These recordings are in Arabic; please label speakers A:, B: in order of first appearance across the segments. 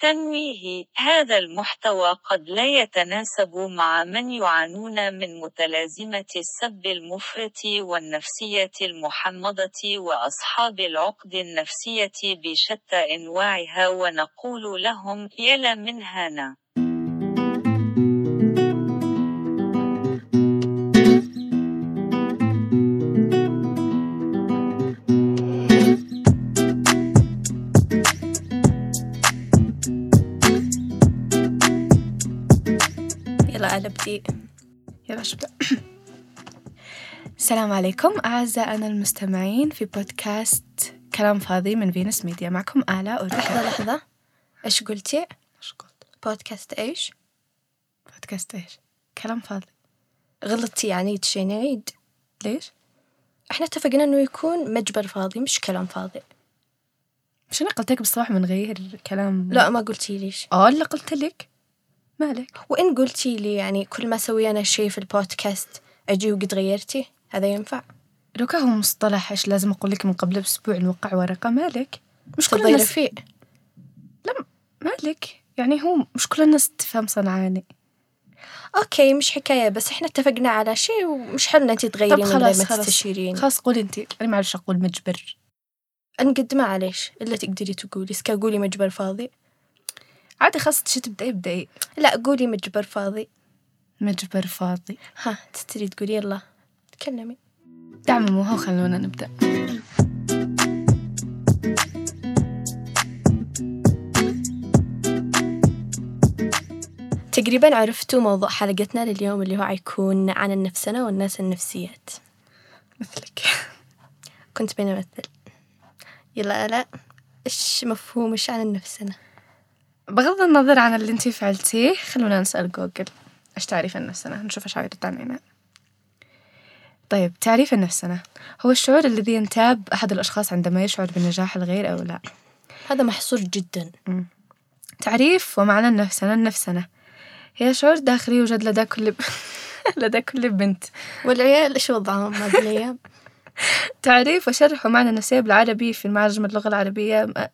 A: تنويه هذا المحتوى قد لا يتناسب مع من يعانون من متلازمة السب المفرط والنفسية المحمضة وأصحاب العقد النفسية بشتى أنواعها ونقول لهم يلا من هنا
B: يلا أنا بدي يلا شو بدأ السلام عليكم أعزائنا المستمعين في بودكاست كلام فاضي من فينس ميديا معكم آلاء
C: لحظة
B: ورحى
C: لحظة ايش قلتي؟
B: إيش قلت؟
C: بودكاست ايش؟
B: بودكاست إيش؟ كلام فاضي
C: غلطتي يعني شي نعيد
B: ليش؟
C: احنا اتفقنا انه يكون مجبر فاضي مش كلام فاضي
B: مش أنا قلت لك بالصباح بنغير كلام
C: لا ما قلتي ليش
B: آه اللي قلت لك مالك
C: وان قلتي لي يعني كل ما اسوي انا شي في البودكاست اجي وقد غيرتي هذا ينفع
B: لوكا هو مصطلح إيش لازم أقول لك من قبل بأسبوع نوقع ورقة مالك مش كل
C: تضيري
B: الناس
C: فيه
B: لا مالك يعني هو مش كل الناس تفهم صنعاني
C: اوكي مش حكاية بس احنا اتفقنا على شي ومش حلنا انت تغيرين
B: طب
C: من غير
B: خلاص
C: ما
B: خلاص
C: تستشيرين
B: خلاص قولي أنت أنا ما أعرفش أقول مجبر
C: نقدمه معليش الا تقدري تقولي سكا قولي مجبر فاضي
B: عادي خلاص شي تبدأي بدأي
C: لا قولي مجبر فاضي
B: مجبر فاضي
C: ها تستري تقولي يلا تكلمي
B: دعموا هو خلونا نبدأ
C: تقريبا عرفتوا موضوع حلقتنا لليوم اللي هو حيكون عن النفسنة والناس النفسيات
B: مثلك
C: كنت بين أمثل يلا آلاء إيش مفهوم إيش عن النفسنة
B: بغض النظر عن اللي انتي فعلتيه خلونا نسأل جوجل ايش تعريف النفسنا نشوف ايش عيرد عننا طيب تعريف النفسنا هو الشعور الذي ينتاب أحد الأشخاص عندما يشعر بنجاح الغير أو لا
C: هذا محصور جدا
B: تعريف ومعنى النفسنا النفسنا هي شعور داخلي يوجد لدى كل ب... لدى كل بنت
C: والعيال إيش وضعهم هذه الأيام
B: تعريف وشرح معنى النفسية بالعربي في معجم اللغة العربية م-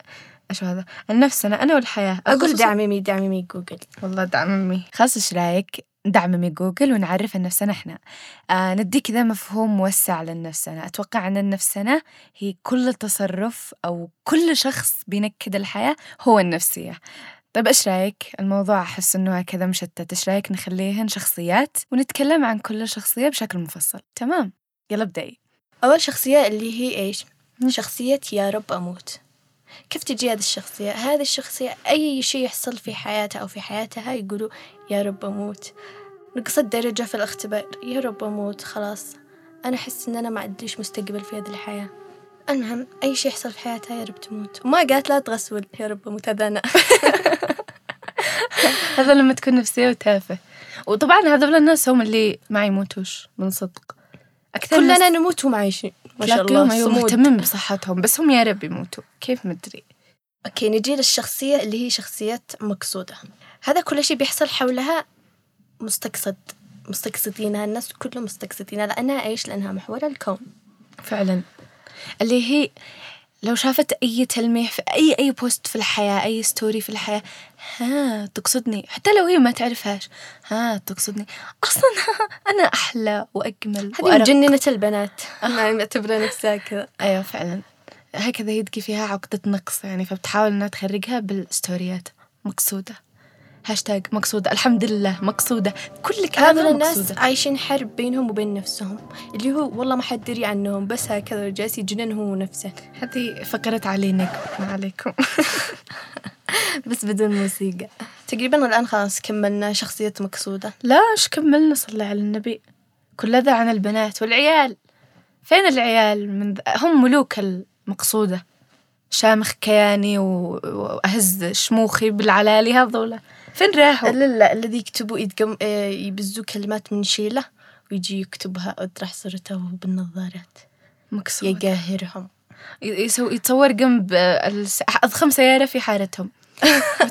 B: أشو هذا النفسنة أنا والحياة
C: أقول
B: الخصوص-
C: دعمي دعمي جوجل
B: والله دعم أمي خلاص إيش رأيك دعم أمي جوجل ونعرف عن نفسنا إحنا آه ندي كذا مفهوم موسع للنفسنة أتوقع أن النفسنة هي كل تصرف أو كل شخص بينكد الحياة هو النفسية طيب إيش رأيك الموضوع أحس إنه كذا مشتت إيش رأيك نخليهن شخصيات ونتكلم عن كل شخصية بشكل مفصل تمام يلا ابدأي
C: أول شخصية اللي هي إيش شخصية يا رب أموت كيف تجي هذه الشخصية؟ هذه الشخصية أي شيء يحصل في حياتها أو في حياتها يقولوا يا رب أموت نقصت درجة في الاختبار يا رب أموت خلاص أنا أحس إن أنا ما عنديش مستقبل في هذه الحياة المهم أي شيء يحصل في حياتها يا رب تموت وما قالت لا تغسول يا رب أموت هذا أنا
B: هذا لما تكون نفسية وتافه وطبعا هذول الناس هم اللي ما يموتوش من صدق أكثر
C: كلنا
B: الناس
C: نموت وما عايشين ما شاء
B: تلاقيهم
C: الله
B: أيوة
C: صمود.
B: مهتمين بصحتهم بس هم يا رب يموتوا كيف مدري
C: اوكي نجي للشخصية اللي هي شخصية مقصودة هذا كل شيء بيحصل حولها مستقصد مستقصدينها الناس كلهم مستقصدينها لأنها ايش لأنها محور الكون
B: فعلا اللي هي لو شافت أي تلميح في أي أي بوست في الحياة أي ستوري في الحياة ها تقصدني حتى لو هي ما تعرفهاش ها تقصدني أصلا أنا أحلى وأجمل
C: هذه
B: وأرق.
C: مجننة البنات ما معتبرة نفسها كذا
B: أيوة فعلا هكذا يدقي فيها عقدة نقص يعني فبتحاول إنها تخرجها بالستوريات مقصودة هاشتاج مقصودة الحمد لله مقصودة كل
C: هذول
B: كلامها
C: الناس
B: مقصودة
C: عايشين حرب بينهم وبين نفسهم اللي هو والله ما حد يدري عنهم بس هكذا جالس يجنن هو نفسه
B: هذه فقرة علي نجم ما عليكم
C: بس بدون موسيقى تقريبا الآن خلاص كملنا شخصية مقصودة
B: لا إيش كملنا صلى على النبي كل هذا عن البنات والعيال فين العيال من ذ... هم ملوك المقصودة شامخ كياني و... وأهز شموخي بالعلالي هذولا فين راحوا
C: لا لا الذي يكتبوا يدقم آه، يبزوا كلمات من شيله ويجي يكتبها اطرح صورته وهو بالنظارات
B: مقصودة
C: يقاهرهم
B: يسوي يتصور جنب آه، الس- أضخم سيارة في حارتهم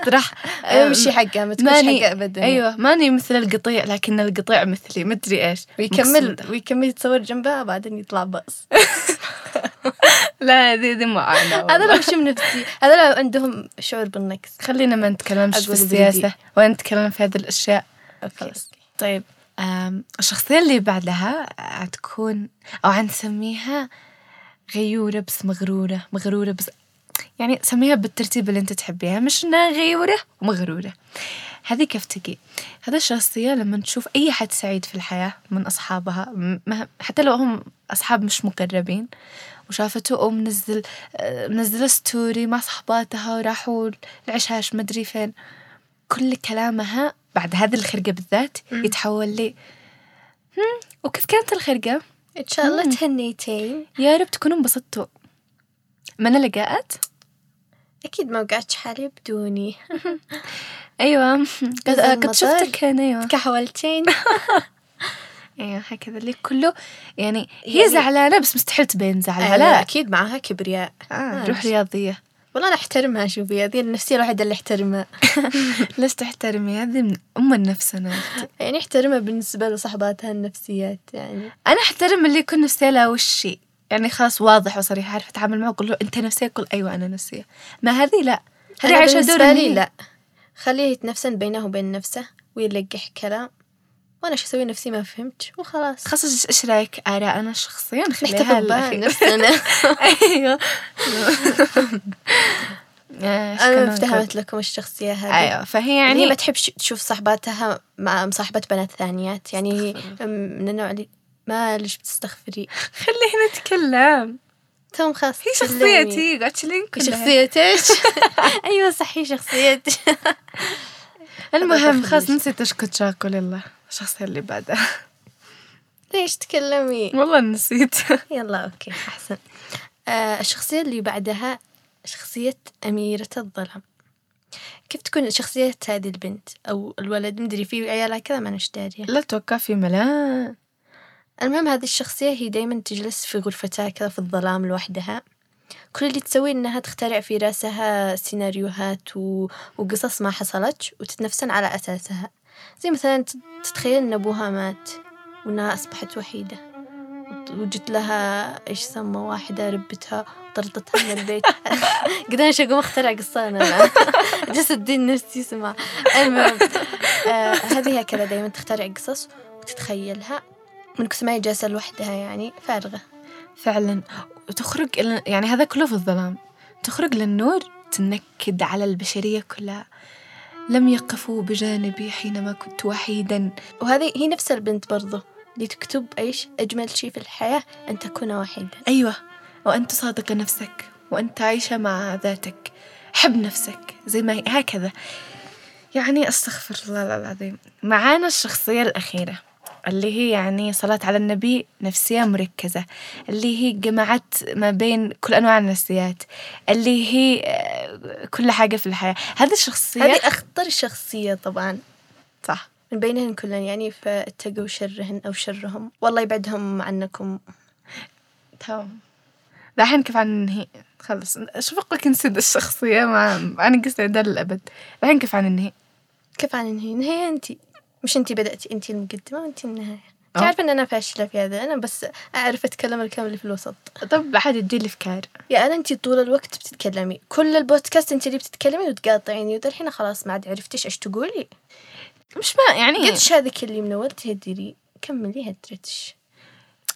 B: راح
C: امشي حقها ما تكونش حقها ابدا
B: أيوة ماني مثل القطيع لكن القطيع مثلي مدري إيش
C: ويكمل
B: مقصودة.
C: ويكمل يتصور جنبها بعدين يطلع باص
B: لا هذه هذه ما أعلم
C: هذا لو شم نفسي هذا لو عندهم شعور بالنقص
B: خلينا ما نتكلمش في
C: أقول
B: السياسة
C: بيدي.
B: ولا نتكلم في هذه الأشياء
C: اوكي
B: خلاص.
C: طيب
B: أم، الشخصية اللي بعدها آه، تكون أو عنسميها غيورة بس مغرورة مغرورة بس يعني سميها بالترتيب اللي انت تحبيها مش انها غيورة ومغرورة هذه كيف تجي هذا الشخصية لما تشوف أي حد سعيد في الحياة من أصحابها م- مه- حتى لو هم أصحاب مش مقربين وشافته أم منزل آه، منزلة ستوري مع صحباتها وراحوا العشاش مدري فين كل كلامها بعد هذه الخرقة بالذات يتحول لي "هم، وكيف كانت الخرقة؟
C: ان شاء الله تهنيتين
B: يا رب تكونوا انبسطتوا من لقاءات؟
C: اكيد ما وقعتش حالي بدوني
B: ايوه قد
C: إذا
B: قد
C: المطر-
B: شفتك هنا ايوه
C: كحولتين
B: ايوه هكذا اللي كله يعني هي زعلانه بس مستحيل تبين زعلها
C: لا
B: لا
C: اكيد معاها آه، كبرياء
B: آه
C: آه،
B: روح
C: مش-
B: رياضيه
C: والله انا احترمها شوفي هذه النفسيه الوحيده اللي احترمها
B: ليش تحترمي هذه من ام نفسنا
C: يعني احترمها بالنسبه لصحباتها النفسيات يعني
B: انا احترم اللي يكون نفسيه لا وشي يعني خلاص واضح وصريح عارفه اتعامل معه اقول له انت نفسيه يقول ايوه انا نفسيه ما هذه لا هذه
C: أنا
B: عايشه
C: بالنسبة
B: دور
C: لي
B: إن هي-
C: لا خليه يتنفسن بينه وبين نفسه ويلقح كلام وانا شو اسوي نفسي ما فهمت وخلاص
B: خلاص ايش رايك اراءنا شخصيا نخليها
C: نحتفظ بها
B: للأخير.
C: نفسنا
B: ايوه آه، إيش كنا
C: انا
B: نقول؟
C: افتهمت لكم الشخصيه هذه
B: ايوه فهي
C: يعني هي
B: يعني
C: ما تحبش تشوف صحباتها مع مصاحبة بنات ثانيات يعني هي من النوع اللي ما ليش بتستغفري
B: خلينا نتكلم
C: توم خلاص
B: هي شخصيتي قالت لي
C: هي
B: كلها.
C: شخصيتك ايوه صح هي شخصيتك
B: المهم
C: أبغى
B: خلاص
C: أخرج.
B: نسيت اشكت شاكل يلا الشخصية اللي بعدها
C: ليش تكلمي
B: والله نسيت
C: يلا اوكي احسن آه الشخصية اللي بعدها شخصية أميرة الظلام كيف تكون شخصية هذه البنت أو الولد مدري في عيالها كذا ما أنا دارية
B: لا توقع في ملان
C: المهم هذه الشخصية هي دايما تجلس في غرفتها كذا في الظلام لوحدها كل اللي تسويه إنها تخترع في راسها سيناريوهات و... وقصص ما حصلت وتتنفسن على أساسها زي مثلا تت- تتخيل إن أبوها مات وإنها أصبحت وحيدة وت- وجت لها إيش سمى واحدة ربتها وطردتها من البيت قد أنا شقوم أخترع قصة أنا الآن. جالسة الدين نفسي سمع المهم آه هذه هكذا دايما تخترع قصص وتتخيلها من كثر ما هي جالسة لوحدها يعني فارغة
B: فعلا وتخرج إلى يعني هذا كله في الظلام تخرج للنور تنكد على البشرية كلها لم يقفوا بجانبي حينما كنت وحيدا
C: وهذه هي نفس البنت برضو اللي تكتب ايش أجمل شيء في الحياة أن تكون وحيدا
B: أيوة وأنت صادقة نفسك وأنت عايشة مع ذاتك حب نفسك زي ما هي هكذا يعني أستغفر الله العظيم معانا الشخصية الأخيرة اللي هي يعني صلاة على النبي نفسية مركزة اللي هي جمعت ما بين كل أنواع النفسيات اللي هي آه، كل حاجة في الحياة هذه الشخصية
C: هذه أخطر شخصية طبعا
B: صح
C: من بينهن كلهن يعني فاتقوا شرهن أو شرهم والله يبعدهم عنكم
B: تمام الحين كيف عن ننهي خلص شوف أقولك نسد الشخصية ما أنا قصة للأبد الحين كيف عن ننهي
C: كيف عن ننهي نهاية أنتي مش أنتي بدأتي أنتي المقدمة وأنتي النهاية
B: أه.
C: تعرف أن أنا فاشلة في هذا أنا بس أعرف أتكلم الكلام اللي في الوسط
B: طب أحد يدي أفكار
C: يا أنا أنتي طول الوقت بتتكلمي كل البودكاست أنتي اللي بتتكلمي وتقاطعيني ودالحين خلاص ما عاد عرفتش إيش تقولي
B: مش ما يعني
C: قدش هذيك اللي من اول تهدري كملي هدرتش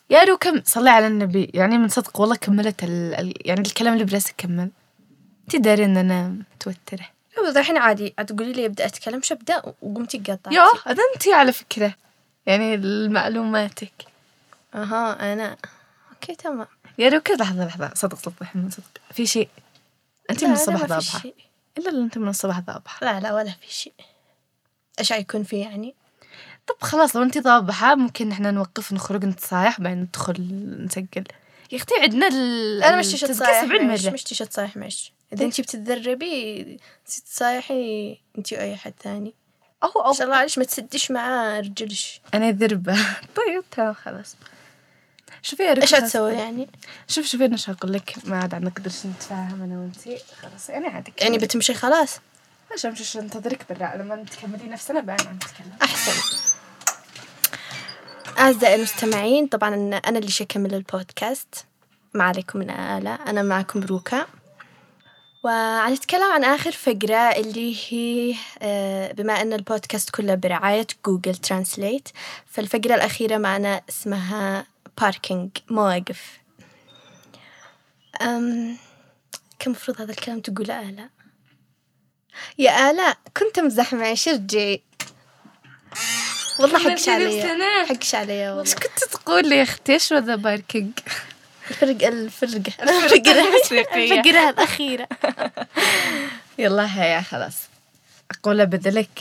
B: يا رو كم صلي على النبي يعني من صدق والله كملت ال... ال- يعني الكلام اللي براسك كمل تدري ان انا متوتره
C: لو الحين عادي تقولي لي ابدا اتكلم شو ابدا وقمتي قطعتي
B: يا هذا انت على فكره يعني لمعلوماتك
C: اها انا اوكي تمام
B: يا رو كذا لحظه لحظه صدق صدق من صدق في شيء انت
C: لا،
B: من
C: لا،
B: الصبح
C: ما في
B: ضابحه
C: شيء.
B: الا اللي انت من الصبح ضابحه
C: لا لا ولا في شيء ايش يكون في يعني
B: طب خلاص لو انت ضابحه ممكن احنا نوقف نخرج نتصايح بعدين ندخل نسجل يا اختي عندنا ال...
C: انا مش تيجي
B: التسجيل
C: تصايح
B: 70
C: معش
B: مره
C: مش تيجي تصايح معش اذا انتي بتتدربي تصايحي انتي واي حد ثاني
B: او او
C: ان شاء الله عليش ما تسديش مع رجلش
B: انا ذربه طيب تمام خلاص شوفي يا رو
C: ايش
B: خلاص.
C: تسوي يعني
B: شوف شوف انا شو اقول لك ما عاد نقدرش نتفاهم انا وانتي خلاص يعني عادك
C: يعني بتمشي خلاص
B: مش مش ننتظرك برا لما تكملي نفسنا بعدين عم نتكلم
C: أحسن أعزائي المستمعين طبعا أنا اللي شكمل البودكاست ما عليكم من آلة أنا معكم روكا وعنتكلم عن آخر فقرة اللي هي آه، بما أن البودكاست كله برعاية جوجل ترانسليت فالفقرة الأخيرة معنا اسمها باركينج مواقف أم كان مفروض هذا الكلام تقوله آلاء يا آلاء كنت أمزح معي شرجي والله حقش علي حقش علي والله
B: ايش كنت تقول يا اختي ايش وذا باركينج؟
C: الفرق الفرقة الفرقة
B: الموسيقية.
C: الفرقة الأخيرة
B: يلا هيا خلاص اقول بدلك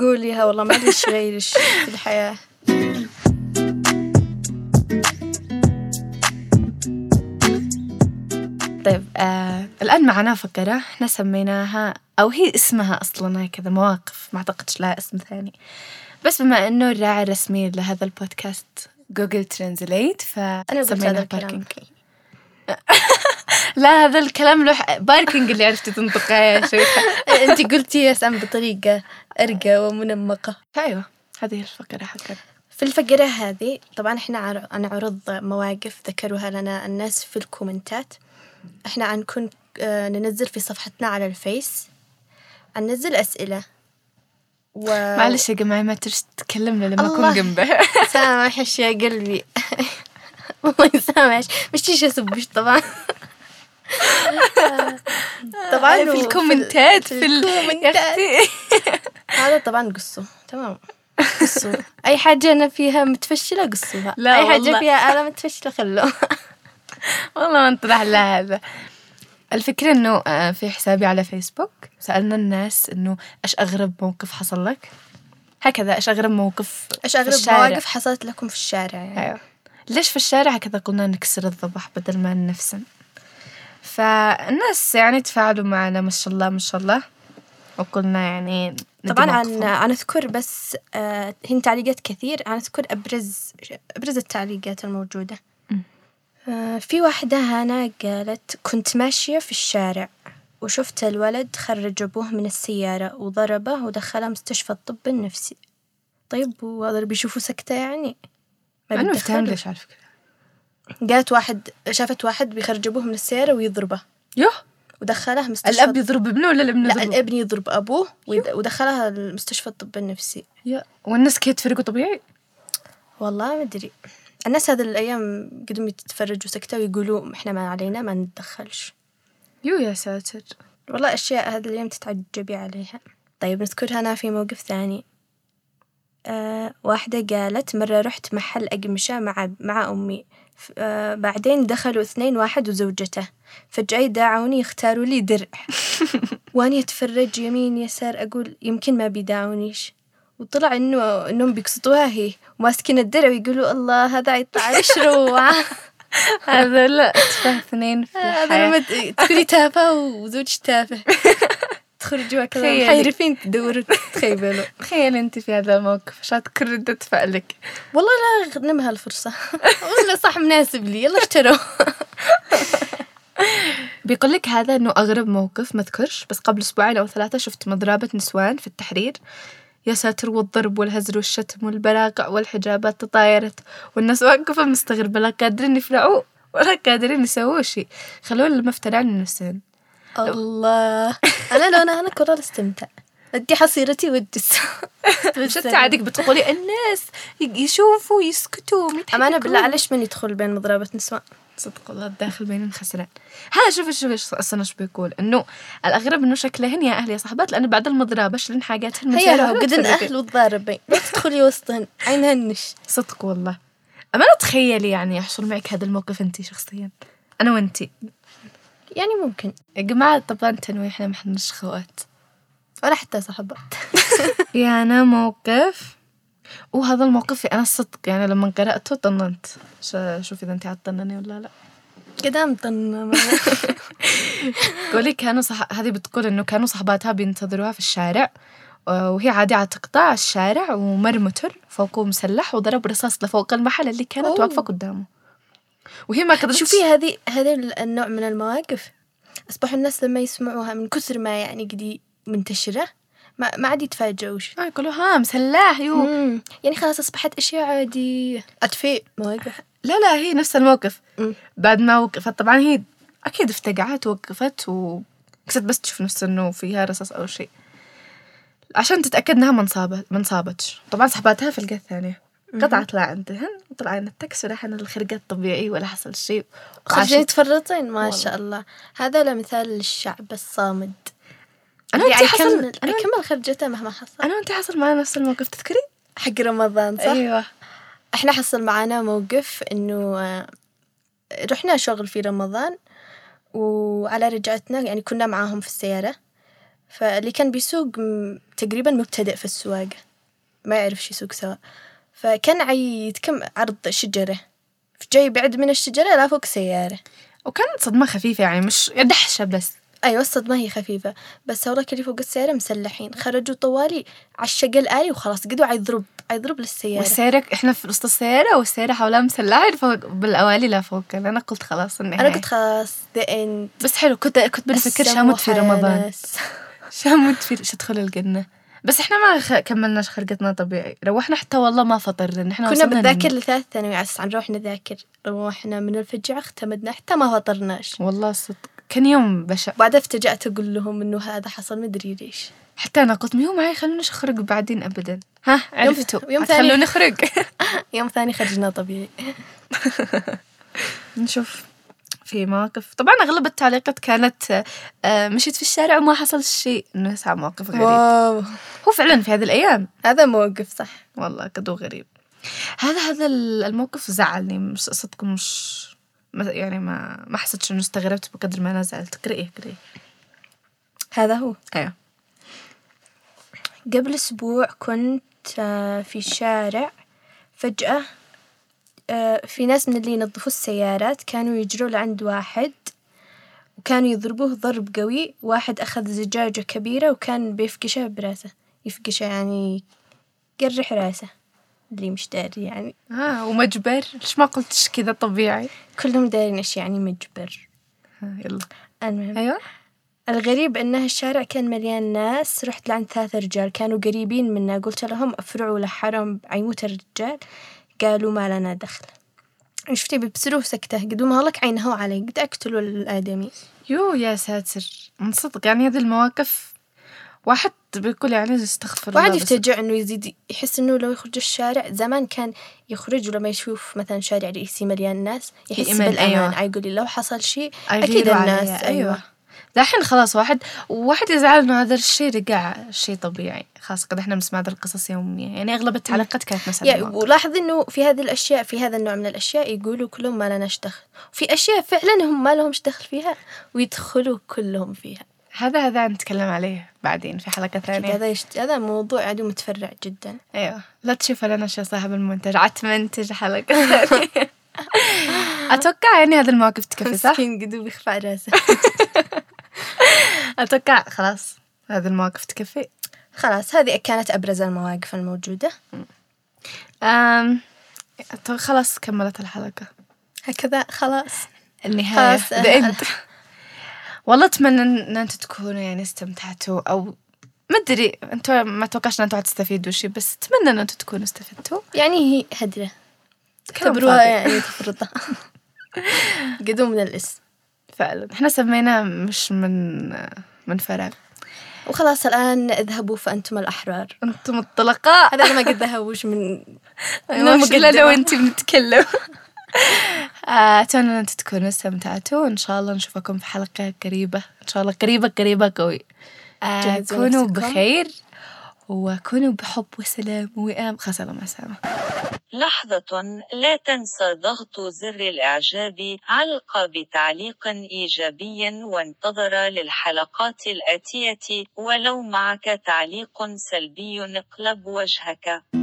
C: قوليها والله ما ادري ايش غيرش في الحياة
B: طيب آه، الآن معنا فقرة احنا سميناها أو هي اسمها أصلا هكذا مواقف ما أعتقدش لها اسم ثاني بس بما أنه الراعي الرسمي لهذا البودكاست جوجل ترانزليت
C: أنا قلت هذا
B: فسميناها
C: الكلام
B: باركينج لا هذا الكلام له باركينج اللي عرفتي تنطقها يا شيخة
C: أنت إيه، قلتي يا سام بطريقة أرقى ومنمقة
B: أيوة هذه الفقرة حقت
C: في الفقرة هذه طبعا احنا عر- نعرض مواقف ذكروها لنا الناس في الكومنتات احنا عنكون آه، ننزل في صفحتنا على الفيس ننزل أسئلة و...
B: معلش يا جماعة ما ترش تكلمنا لما
C: آه. الله.
B: أكون جنبها
C: سامحش يا قلبي ما يسامحش مش تيجي اسبش طبعا طبعا
B: في
C: وفي
B: الكومنتات في ال-
C: الكومنتات.
B: يا أختي.
C: هذا طبعا قصه تمام قصوا اي حاجه انا فيها متفشله قصوها
B: لا
C: اي حاجه
B: والله.
C: فيها انا متفشله خلوها
B: والله ما انطرح لها هذا الفكرة انه آه، في حسابي على فيسبوك سألنا الناس انه ايش اغرب موقف حصل لك هكذا ايش اغرب موقف
C: ايش
B: في
C: اغرب
B: الشارع.
C: مواقف حصلت لكم في الشارع يعني
B: ايوه ليش في الشارع هكذا قلنا نكسر الضبح بدل ما ننفسن فالناس يعني تفاعلوا معنا ما شاء الله ما شاء الله وقلنا يعني ندي
C: طبعا عن
B: موقفهم.
C: عن اذكر بس آه، هن تعليقات كثير عن اذكر ابرز ابرز التعليقات الموجوده
B: مم.
C: آه، في واحدة هنا قالت كنت ماشية في الشارع وشفت الولد خرج أبوه من السيارة وضربه ودخله مستشفى الطب النفسي طيب وهذا بيشوفوا سكتة يعني ما
B: انا مفتهم
C: بيتدخلوا.
B: ليش على فكرة
C: قالت واحد شافت واحد بيخرج أبوه من السيارة ويضربه
B: يوه
C: ودخله مستشفى
B: الاب يضرب ابنه ولا الابن
C: لا
B: يضرب
C: الابن يضرب أبوه ويد- ودخلها المستشفى الطب النفسي
B: يا. والناس كي تفرقوا طبيعي
C: والله ما أدري الناس هذه الأيام قدهم يتفرجوا سكتة ويقولوا إحنا ما علينا ما نتدخلش
B: يو يا ساتر
C: والله أشياء هذا اليوم تتعجبي عليها طيب نذكرها أنا في موقف ثاني أه واحدة قالت مرة رحت محل أقمشة مع مع أمي ف- أه بعدين دخلوا اثنين واحد وزوجته فجأة يداعوني يختاروا لي درع وأنا أتفرج يمين يسار أقول يمكن ما بيداعونيش وطلع إنه إنهم بيقصدوها هي وماسكين الدرع ويقولوا الله هذا يطلع شروعة
B: هذا لا تفه اثنين في
C: هذا
B: الحياة
C: لما ت- تكوني تافهة وزوجك تافه تخرجي جوا كذا
B: تخيلي.
C: محيرفين تدوروا تخيبلوا
B: تخيل انت في هذا الموقف شو تكون ردة فعلك
C: والله لا اغنمها الفرصة والله صح مناسب لي يلا اشتروا
B: بيقول لك هذا انه اغرب موقف ما اذكرش بس قبل اسبوعين او ثلاثة شفت مضربة نسوان في التحرير يا ساتر والضرب والهزل والشتم والبلاقع والحجابات تطايرت والناس واقفة مستغربة لا قادرين يفرعوا ولا قادرين يسووا شيء خلونا لما افترعنا نفسنا
C: الله انا لو انا انا قرار استمتع ادي حصيرتي والجس
B: شتى عادك بتقولي الناس يشوفوا يسكتوا
C: امانة بالله
B: يضحكون.
C: ليش من يدخل بين مضربة نسوان
B: صدق والله الداخل بينهم خسران ها شوف شوف ايش اصلا ايش بيقول انه الاغرب انه شكلهن يا اهل يا صاحبات لانه بعد المضربه شلن حاجاتهن من
C: هي
B: سيارة
C: لو
B: ولا
C: قدن
B: تفرقين.
C: اهل وتضاربين لا تدخلي وسطهن عينهنش
B: صدق والله اما لا تخيلي يعني يحصل معك هذا الموقف انت شخصيا انا وانتي
C: يعني ممكن
B: يا جماعه طبعا تنويه احنا ما احناش خوات
C: ولا حتى صحبات
B: في انا موقف وهذا الموقف انا الصدق يعني لما قرأته طننت ش- شوف اذا انت عطنني ولا لا
C: قدام طن
B: قولي كانوا صح... هذه بتقول انه كانوا صحباتها بينتظروها في الشارع آه، وهي عادي على تقطع الشارع ومر متر فوقه مسلح وضرب رصاص لفوق المحل اللي كانت
C: أوه.
B: واقفه قدامه وهي ما قدرت
C: شوفي هذه هذا النوع من المواقف أصبحوا الناس لما يسمعوها من كثر ما يعني قدي منتشرة ما, ما عاد يتفاجئوش
B: آه، يقولوا ها مسلح يو
C: يعني خلاص أصبحت أشياء عادية أطفي مواقف
B: لا لا هي نفس الموقف
C: مم.
B: بعد ما وقفت طبعا هي اكيد افتقعت وقفت وقست بس تشوف نفسها انه فيها رصاص او شيء عشان تتاكد انها ما انصابت ما انصابتش طبعا سحبتها في القه الثانيه قطعت لا عندهن وطلعنا التكس ولا حنا الخرقات طبيعي ولا حصل شيء
C: خرجين
B: وعاشت-
C: يتفرطين ما
B: والله.
C: شاء الله هذا لا مثال للشعب الصامد
B: انا
C: اللي
B: وانت حصل
C: يكمل
B: أنا-
C: يكمل خرجته مهما حصل
B: انا وانت حصل معنا نفس الموقف تذكري؟
C: حق رمضان صح؟
B: ايوه
C: احنا حصل معانا موقف انه آه، رحنا شغل في رمضان وعلى رجعتنا يعني كنا معاهم في السيارة فاللي كان بيسوق م- تقريبا مبتدئ في السواقة ما يعرف شو يسوق سوا فكان عي يتكم عرض شجرة جاي بعد من الشجرة لا فوق سيارة
B: وكانت صدمه خفيفه يعني مش دحشه بس
C: أيوة الصدمة هي خفيفة بس هولاك اللي فوق السيارة مسلحين خرجوا طوالي على الشقة الآلي وخلاص قدوا عيضرب عيضرب للسيارة
B: والسيارة احنا في وسط السيارة والسيارة حولها مسلحة فوق بالأوالي لا فوق يعني أنا قلت خلاص النهاية
C: أنا قلت خلاص the end
B: بس حلو كنت كنت بنفكر شامت في رمضان
C: السموحانس.
B: شامت في مش تدخل الجنة بس احنا ما خ... كملناش خرقتنا طبيعي روحنا حتى والله ما فطرنا احنا
C: كنا
B: وصلنا
C: بنذاكر
B: للم-
C: لثالث ثانوي عس عن روح نذاكر روحنا من الفجعة اختمدنا حتى ما فطرناش
B: والله صدق كان يوم بشع
C: بعدها افتجأت أقول لهم إنه هذا حصل مدري ليش
B: حتى انا قلت مو معي خلونا نخرج بعدين ابدا ها عرفتوا
C: يوم
B: يوم
C: ثاني.
B: خلونا نخرج
C: يوم ثاني خرجنا طبيعي
B: نشوف في مواقف طبعا اغلب التعليقات كانت آه، آه، مشيت في الشارع وما حصل شيء نسعى مواقف غريب
C: واو
B: هو فعلا في هذه الايام
C: هذا موقف صح
B: والله كدو غريب هذا هذا ال- الموقف زعلني مش صدق مش ما- يعني ما ما حسيتش انه استغربت بقدر ما انا زعلت قرئيه قرئيه
C: هذا هو
B: ايوه
C: قبل أسبوع كنت آه، في الشارع فجأة آه، في ناس من اللي ينظفوا السيارات كانوا يجروا لعند واحد وكانوا يضربوه ضرب قوي واحد أخذ زجاجة كبيرة وكان بيفقشه براسه يفقشه يعني يقرح راسه اللي مش داري يعني
B: اه ومجبر ليش ما قلتش كذا طبيعي
C: كلهم دارين إيش يعني مجبر
B: ها يلا
C: المهم
B: ايوه
C: الغريب أنه الشارع كان مليان ناس رحت لعند ثلاثة رجال كانوا قريبين منا قلت لهم أفرعوا لحرم عيموت الرجال قالوا ما لنا دخل شفتي بيبسلوه سكته قد ما لك عينه علي قد أقتلوا الآدمي
B: يو يا ساتر من صدق يعني هذه المواقف واحد بيقول يعني استغفر الله
C: واحد
B: بس-
C: يفتجع انه يزيد يحس انه لو يخرج الشارع زمان كان يخرج لما يشوف مثلا شارع رئيسي مليان ناس يحس
B: إيمان،
C: بالامان
B: أيوة.
C: أيوة. يقول لو حصل شيء اكيد
B: أغيروا عليها.
C: الناس ايوه
B: يعني أيوة. دحين خلاص واحد واحد يزعل انه هذا الشيء رجع شيء طبيعي خاصة قد احنا بنسمع هذه القصص يوميا يعني اغلب التعليقات كانت نفس
C: يعني
B: الموضوع.
C: ولاحظ انه في هذه الاشياء في هذا النوع من الاشياء يقولوا كلهم ما لناش دخل في اشياء فعلا هم ما لهمش دخل فيها ويدخلوا كلهم فيها
B: هذا هذا نتكلم عليه بعدين في حلقة
C: يعني
B: ثانية
C: هذا يشت... هذا موضوع عدو متفرع جدا
B: ايوه لا تشوف لنا شيء صاحب المنتج عتمنتج حلقة ثانية اتوقع يعني هذه المواقف تكفي صح؟
C: مسكين قدو بيخفع راسه
B: اتوقع خلاص هذه المواقف تكفي
C: خلاص هذه كانت ابرز المواقف الموجوده
B: أم... أتو- خلاص كملت الحلقة
C: هكذا خلاص
B: النهاية
C: خلاص،
B: the end. والله اتمنى ان انتم تكونوا يعني استمتعتوا او ما ادري انتم ما توقعش ان انتم حتستفيدوا شيء بس اتمنى ان انتم تكونوا استفدتوا
C: يعني هي هدرة
B: كلام
C: اعتبروها
B: فاضي.
C: يعني تفرطة قدوم من الاسم
B: فعلا احنا سميناه مش من من فراغ
C: وخلاص الآن اذهبوا فأنتم الأحرار
B: انتم الطلقاء
C: هذا أنا ما قد ذهبوش من
B: أيوة، مش
C: مقدمة.
B: الا لو انت بنتكلم آه، اتمنى ان انتم تكونوا استمتعتوا ان شاء الله نشوفكم في حلقه قريبه ان شاء الله قريبه قريبه قوي آه،
C: جهزوا
B: كونوا
C: نفسكم.
B: بخير وكونوا بحب وسلام وام خلاص يلا، مع السلامه
A: لحظة لا تنسى ضغط زر الإعجاب علق بتعليق إيجابي وانتظر للحلقات الآتية ولو معك تعليق سلبي اقلب وجهك